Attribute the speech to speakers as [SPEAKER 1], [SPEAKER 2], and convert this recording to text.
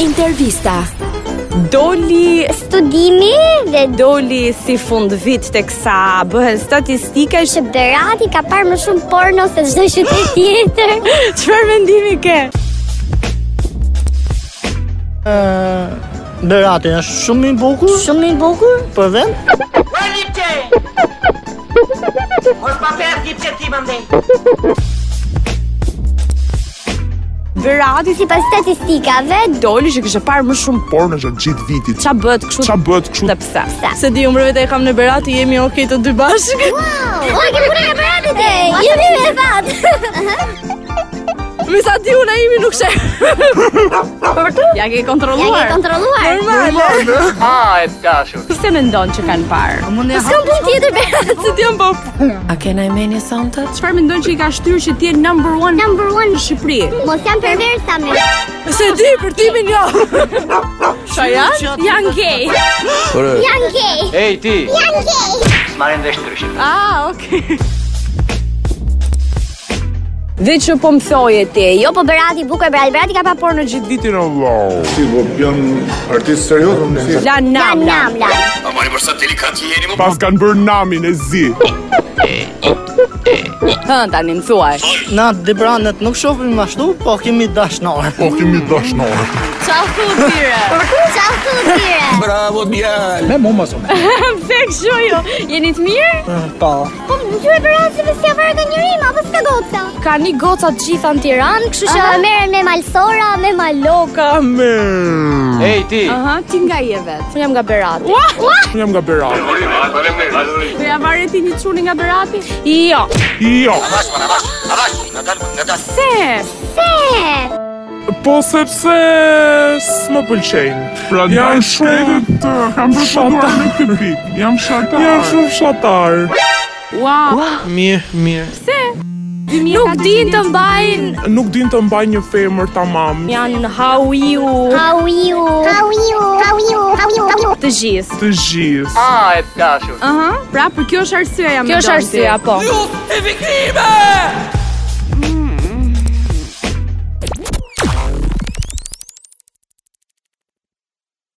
[SPEAKER 1] Intervista.
[SPEAKER 2] Doli
[SPEAKER 3] Studimi dhe
[SPEAKER 2] doli si fund vit teksa bëhen statistika që
[SPEAKER 3] Shqiptarati ka parë më shumë porno se çdo qytet tjetër.
[SPEAKER 2] çfarë mendimi ke?
[SPEAKER 4] Berati është shumë i bukur,
[SPEAKER 3] Shumë i bukur.
[SPEAKER 4] për vend,
[SPEAKER 5] Felipe! Os papéis de ti mandei.
[SPEAKER 2] Berati si
[SPEAKER 3] Sipas statistikave,
[SPEAKER 2] doli që kishte parë më shumë
[SPEAKER 6] por në gjatë gjithë vitit.
[SPEAKER 2] ça bëhet kështu
[SPEAKER 6] Qa bëtë kështu?
[SPEAKER 2] dhe pse? Se di unë vetë e kam në Berati, jemi okay të dy bashkë.
[SPEAKER 3] o ke punë ka parë atë. Jemi me fat.
[SPEAKER 2] Me sa di unë imi nuk shë. ja ke
[SPEAKER 3] Ja ke
[SPEAKER 2] kontrolluar.
[SPEAKER 3] kontrolluar.
[SPEAKER 2] Normal. eh? Ha, e dashur. Se mendon që kanë parë?
[SPEAKER 3] S'kam punë tjetër Berat.
[SPEAKER 2] Se ti jam po.
[SPEAKER 1] A ke na mendje sonte?
[SPEAKER 2] Çfarë mendon që i ka shtyrë që ti je number 1
[SPEAKER 3] Number
[SPEAKER 2] në
[SPEAKER 3] 1
[SPEAKER 2] Shqipëri?
[SPEAKER 3] Mos jam perversa me
[SPEAKER 2] Se di për timin jo. Sa janë? Janë gay.
[SPEAKER 3] Jan gay Ej ti Jan gay
[SPEAKER 2] Ah, okay. Dhe që po më thoje ti,
[SPEAKER 3] Jo po Berati bukur Berati Berati ka pa porno gjithë
[SPEAKER 6] Vitin Allah.
[SPEAKER 7] Si, po jam artist serioz, unë si.
[SPEAKER 2] la nam,
[SPEAKER 3] Jan
[SPEAKER 2] nam.
[SPEAKER 3] namla
[SPEAKER 6] Pas kanë bërë namin e zi.
[SPEAKER 2] Hën tani më thuaj.
[SPEAKER 4] na debranët nuk shohim ashtu, po kemi dashnor.
[SPEAKER 6] Po kemi dashnore.
[SPEAKER 2] Qa thu tyre?
[SPEAKER 3] Qa thu tyre
[SPEAKER 2] Pse kështu jo? Jeni të mirë?
[SPEAKER 4] Po,
[SPEAKER 3] Po më gjyre Berati se pësja varë ka njërim Apo s'ka goca
[SPEAKER 2] Ka një goca të gjitha në Tiranë, kështu
[SPEAKER 3] Qësha merën me malsora Me maloka
[SPEAKER 2] Aha, ti nga je vetë. Unë jam nga Berati. Ua,
[SPEAKER 6] Unë jam nga Berat.
[SPEAKER 2] do ja marrë ti një çuni nga Berati? Jo.
[SPEAKER 6] Jo,
[SPEAKER 2] Se,
[SPEAKER 3] Se
[SPEAKER 6] po sepse s'më pëlqejnë. Pra janë shumë të kam përshatuar në këtë pikë. Jam shatar. Jam shumë shatar.
[SPEAKER 2] ua,
[SPEAKER 6] Mirë, mirë.
[SPEAKER 2] nuk din të mbajnë.
[SPEAKER 6] Nuk din të mbaj një femër tamam.
[SPEAKER 2] Janë how you
[SPEAKER 3] How you How you How you How you How you
[SPEAKER 2] të gjithë.
[SPEAKER 6] Të gjithë.
[SPEAKER 2] Aha, pra për kjo është arsyeja më. Kjo është arsyeja, po.
[SPEAKER 5] Justificível!